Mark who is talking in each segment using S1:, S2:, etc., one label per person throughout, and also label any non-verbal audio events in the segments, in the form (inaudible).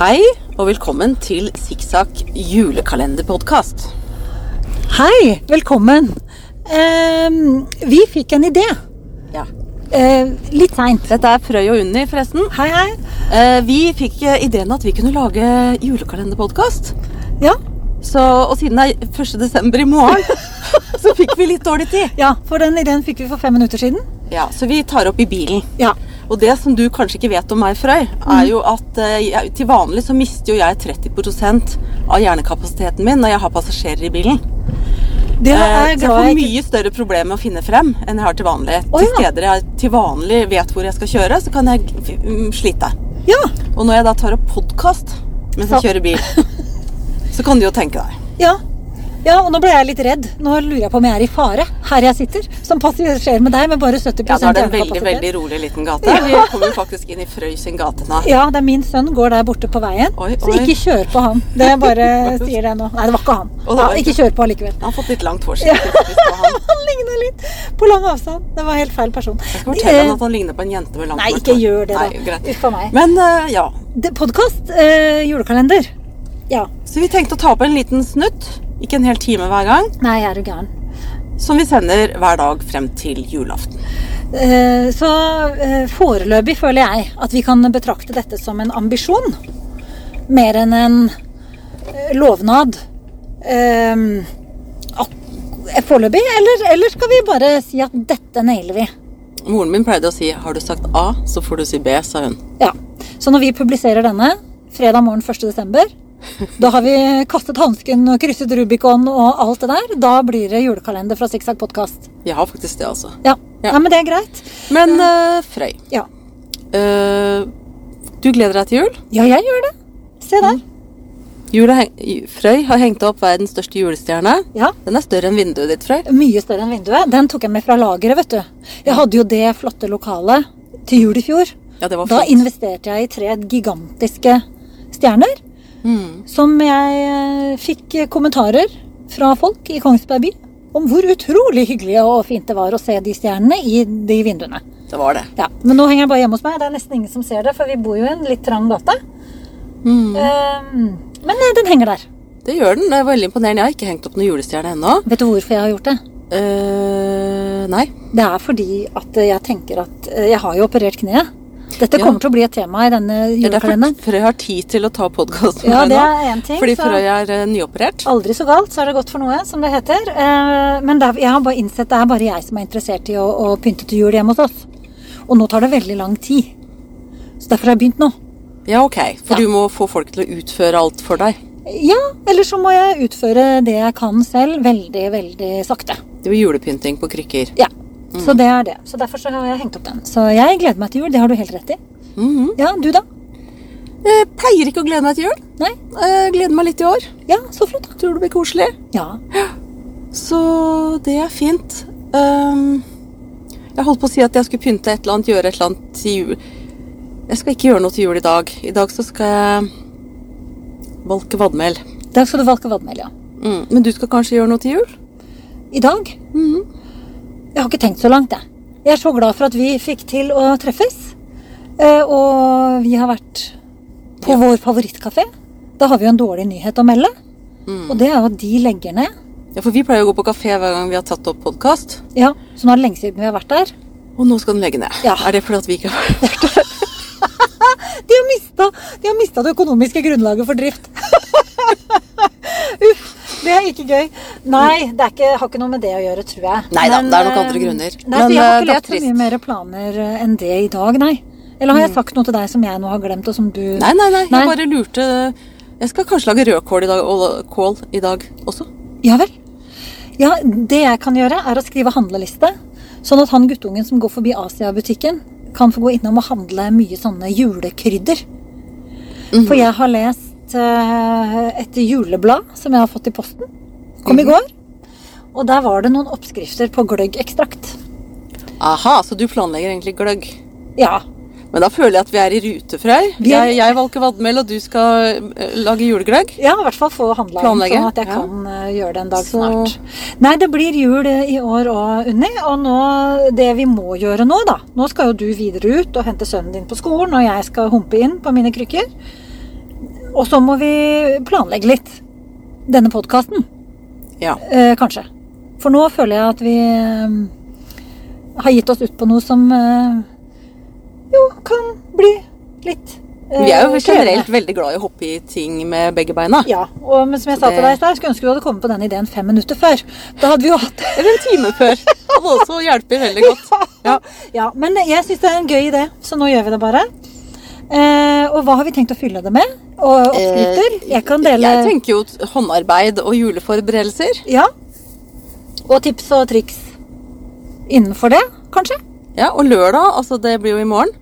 S1: Hei, og velkommen til Sikksakk julekalenderpodkast.
S2: Hei, velkommen. Ehm, vi fikk en idé.
S1: Ja.
S2: Eh, litt seint.
S1: Dette er Frøy og Unni, forresten.
S2: Hei, hei.
S1: Eh, vi fikk eh, ideen at vi kunne lage julekalenderpodkast.
S2: Ja,
S1: Så, og siden det er 1. desember i morgen, (laughs) så fikk vi litt dårlig tid.
S2: ja, for den ideen fikk vi for fem minutter siden.
S1: Ja, Så vi tar opp i bilen.
S2: Ja.
S1: Og det som du kanskje ikke vet om meg, Frøy, er jo at eh, jeg, til vanlig så mister jo jeg 30 av hjernekapasiteten min når jeg har passasjerer i bilen.
S2: Det
S1: Eh,
S2: er
S1: så jeg
S2: glad
S1: får
S2: jeg ikke
S1: mye større problemer med å finne frem enn jeg har til vanlig.
S2: Å,
S1: Til
S2: ja.
S1: steder jeg til vanlig vet hvor jeg skal kjøre, så kan jeg f- mm, slite.
S2: ja.
S1: Og når jeg da tar opp podkast mens
S2: Så-
S1: jeg kjører
S2: (laughs)
S1: bil, så kan du jo tenke deg.
S2: ja. Ja, og nå ble jeg litt redd. Nå lurer jeg på om jeg er i fare her jeg sitter. Som passasjer med deg med bare 70
S1: Ja, nå er det en veldig,
S2: hjernekapasitet.
S1: veldig rolig liten gate. Vi kommer jo faktisk inn i Frøy sin gate nå.
S2: Ja, det er min sønn går der borte på veien,
S1: Oi,
S2: så
S1: oi.
S2: ikke kjør på han. Det er bare
S1: (laughs)
S2: sier det nå. Nei, det var ikke han.
S1: det
S2: Ja,
S1: var ikke-
S2: ikke kjør på allikevel. (laughs)
S1: Han har fått litt langt hår. sikkert, hvis det var han.
S2: Han ligner litt på lang avstand. Det var helt feil person.
S1: Jeg skal fortelle han at han ligner på en jente med langt
S2: Nei,
S1: mørkt
S2: ikke
S1: hår.
S2: gjør det,
S1: Nei,
S2: da.
S1: greit.
S2: Uff a meg.
S1: Men eh, ja.
S2: Podkast, eh, julekalender. Ja.
S1: Så vi tenkte å ta opp en liten snutt, ikke en hel time hver gang,
S2: Nei, er du gæren.
S1: som vi sender hver dag frem til julaften.
S2: Eh, så eh, foreløpig føler jeg at vi kan betrakte dette som en ambisjon. Mer enn en eh, lovnad. Eh, ak- foreløpig, eller, eller skal vi bare si at dette nailer vi?
S1: Moren min pleide å si 'har du sagt A, så får du si B', sa hun.
S2: Ja. Så når vi publiserer denne fredag morgen 1.12., da har vi kastet hansken og krysset Rubicon og alt det der. Da blir det julekalender fra Sikksakk podkast.
S1: Jeg har faktisk det, altså.
S2: Ja.
S1: Ja.
S2: ja. Nei, men det er greit.
S1: Men eh, Frøy,
S2: Ja.
S1: eh, du gleder deg til jul?
S2: ja, jeg gjør det. Se der.
S1: Jula heng Ju- Frøy har hengt opp verdens største julestjerne.
S2: Ja.
S1: Den er større enn vinduet ditt, Frøy.
S2: Mye større enn vinduet. Den tok jeg med fra lageret, vet du. Jeg hadde jo det flotte lokalet til jul i fjor.
S1: Ja, det var
S2: Da
S1: flott.
S2: investerte jeg i tre gigantiske stjerner,
S1: Mm,
S2: som jeg eh, fikk kommentarer fra folk i Kongsberg by om hvor utrolig hyggelig og fint det var å se de stjernene i de vinduene.
S1: Det var det.
S2: Ja, Men nå henger jeg bare hjemme hos meg. Det er nesten ingen som ser det, for vi bor jo i en litt trang gate.
S1: Mm.
S2: Mm. Eh, men eh, den henger der.
S1: Det gjør den. Det er veldig imponerende. Jeg har ikke hengt opp noen julestjerne ennå.
S2: Vet du hvorfor jeg har gjort det?
S1: Eh, nei.
S2: Det er fordi at jeg tenker at eh, jeg har jo operert kneet. Dette
S1: Ja.
S2: kommer til å bli et tema i denne
S1: Det er derfor
S2: julekalenderen.
S1: Frøy har tid til å ta podkasten
S2: Ja,
S1: med
S2: det
S1: nå.
S2: er en ting.
S1: Fordi
S2: så
S1: Frøy er eh, nyoperert.
S2: Aldri så galt, så er det godt for noe, som det heter. Eh, Men det er, jeg har bare innsett det er bare jeg som er interessert i å, å pynte til jul hjemme hos oss. Og nå tar det veldig lang tid. Så derfor har jeg begynt nå.
S1: Ja, ok. For
S2: Ja.
S1: du må få folk til å utføre alt for deg.
S2: Ja, eller så må jeg utføre det jeg kan selv, veldig, veldig sakte.
S1: Det blir julepynting på krykker.
S2: Ja. Så det er det. Så derfor så har jeg hengt opp den. Så jeg gleder meg til jul, det har du helt rett i. Ja, du da?
S1: Mhm. Jeg pleier ikke å glede meg til jul.
S2: Nei?
S1: Jeg gleder meg litt i år.
S2: Ja, så flott da.
S1: Tror det blir koselig.
S2: Ja.
S1: Så det er fint. Ehm, jeg holdt på å si at jeg skulle pynte et eller annet, gjøre et eller annet til jul. Jeg skal ikke gjøre noe til jul i dag. I dag så skal jeg valke vadmel.
S2: Da skal du valke vadmel, ja.
S1: Mm. Men du skal kanskje gjøre noe til jul? Mhm.
S2: I dag? Jeg har ikke tenkt så langt, jeg. Jeg er så glad for at vi fikk til å treffes. Eh, Og vi har vært på vår favorittkafé. Da har vi jo en dårlig nyhet å melde.
S1: Mm.
S2: Og det er jo at de legger ned.
S1: Ja, for vi pleier å gå på kafé hver gang vi har tatt opp podkast.
S2: Ja, Så nå er det lenge siden vi har vært der.
S1: Og nå skal den legge ned.
S2: Ja.
S1: Er det fordi at vi ikke har
S2: De har mista, de har mista det økonomiske grunnlaget for drift. (laughs) Uff, det er ikke gøy. Nei, det er ikke, har ikke noe med det å gjøre, tror jeg.
S1: Nei da,
S2: Men,
S1: det er nok
S2: eh,
S1: andre grunner.
S2: Nei,
S1: Men,
S2: så jeg
S1: eh, det er
S2: har ikke lagt så
S1: trist. Mm.
S2: mye mer planer eh, enn det i dag, nei. Eller har jeg sagt noe til deg som jeg nå har glemt, og som du
S1: Nei, nei, nei. Jeg
S2: Nei.
S1: bare lurte Jeg skal kanskje lage rødkål i dag, og kål i dag også.
S2: Ja vel. Ja, det jeg kan gjøre, er å skrive handleliste. Sånn at han guttungen som går forbi Asia-butikken, kan få gå innom og handle mye sånne julekrydder.
S1: Mm. Mhm.
S2: For jeg har lest eh, et juleblad som jeg har fått i posten. Kom i går. Og der var det noen oppskrifter på gløggekstrakt.
S1: Aha, så du planlegger egentlig gløgg?
S2: Ja.
S1: Men da føler jeg at vi er i rute, Frøy.
S2: Vi er-
S1: Jeg, jeg valgte vadmel, og du skal eh, lage julegløgg.
S2: Ja, i hvert fall få handla inn,
S1: Planlegge,
S2: sånn at jeg
S1: ja.
S2: kan eh, gjøre det en dag
S1: Så-
S2: snart. Nei, det blir jul eh, i år òg, Unni. Og nå, det vi må gjøre nå, da Nå skal jo du videre ut og hente sønnen din på skolen, og jeg skal humpe inn på mine krykker. Og så må vi planlegge litt denne podkasten,
S1: Ja.
S2: eh, kanskje. For nå føler jeg at vi eh, har gitt oss ut på noe som eh, jo kan bli litt eh,
S1: Vi er jo
S2: krevende.
S1: generelt veldig glad i å hoppe i ting med begge beina.
S2: Ja, og men som jeg sa
S1: Så
S2: til
S1: det-
S2: deg i stad, jeg skulle ønske du hadde kommet på den ideen fem minutter før. Da hadde vi jo hatt
S1: Eller en time før. Hadde også hjulpet veldig godt. Ja.
S2: (laughs) Ja, men jeg syns det er en gøy idé, så nå gjør vi det bare. Eh, og hva har vi tenkt å fylle det med? Og oppskrifter? Jeg kan dele
S1: Eh, Jeg tenker jo t- håndarbeid og juleforberedelser.
S2: Ja. Og tips og triks innenfor det, kanskje?
S1: Ja, Og lørdag, altså det blir jo i morgen,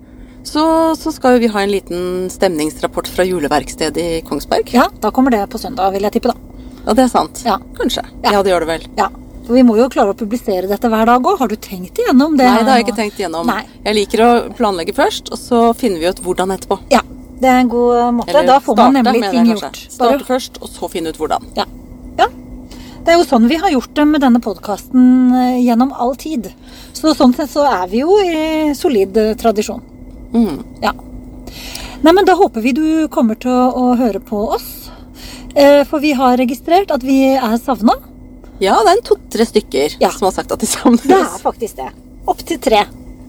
S1: så, så skal jo vi ha en liten stemningsrapport fra juleverkstedet i Kongsberg.
S2: Ja, da kommer det på søndag, vil jeg tippe, da.
S1: Ja, det er sant.
S2: Ja.
S1: Kanskje.
S2: Ja.
S1: Ja. det gjør det vel.
S2: Ja, For vi må jo klare å publisere dette hver dag òg. Har du tenkt igjennom det?
S1: Nei, det har jeg
S2: nå?
S1: ikke tenkt igjennom.
S2: Nei.
S1: Jeg liker å planlegge først, og så finner vi ut hvordan etterpå.
S2: Ja, det er en god måte. da får man nemlig
S1: mener jeg
S2: ting
S1: kanskje.
S2: gjort. Bare-
S1: Starte først, og så finne ut hvordan.
S2: Ja. ja. Det er jo sånn vi har gjort det med denne podkasten gjennom all tid. Så sånn sett så er vi jo i solid eh, tradisjon.
S1: Mm.
S2: Ja. Nei, men da håper vi du kommer til å, å høre på oss. Eh, for vi har registrert at vi er savna.
S1: Ja, det er en to-tre stykker
S2: Ja.
S1: som har sagt at de savner
S2: Det er
S1: oss.
S2: faktisk det. Opptil tre.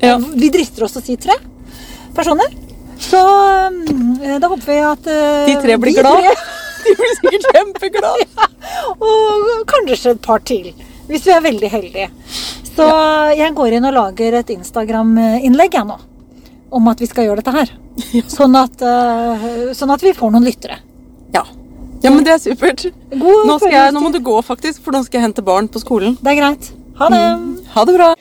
S2: Eh,
S1: Ja.
S2: Vi drister oss til å si tre personer. Så mm, eh, da håper vi at eh,
S1: De tre blir
S2: vi
S1: glad.
S2: (laughs)
S1: (laughs)
S2: tre-
S1: De blir sikkert kjempeglad.
S2: Og kanskje et par til, hvis vi er veldig heldige. Så jeg går inn og lager et Instagram-innlegg jeg nå, om at vi skal gjøre dette
S1: (laughs)
S2: her. Sånn, at, eh, sånn at vi får noen lyttere.
S1: Ja. ja, men det er supert.
S2: God
S1: Nå, skal jeg, nå må
S2: følelse.
S1: du gå, faktisk, for nå skal jeg hente barn på skolen. Mm.
S2: Det er greit. Ha det.
S1: Ha det bra.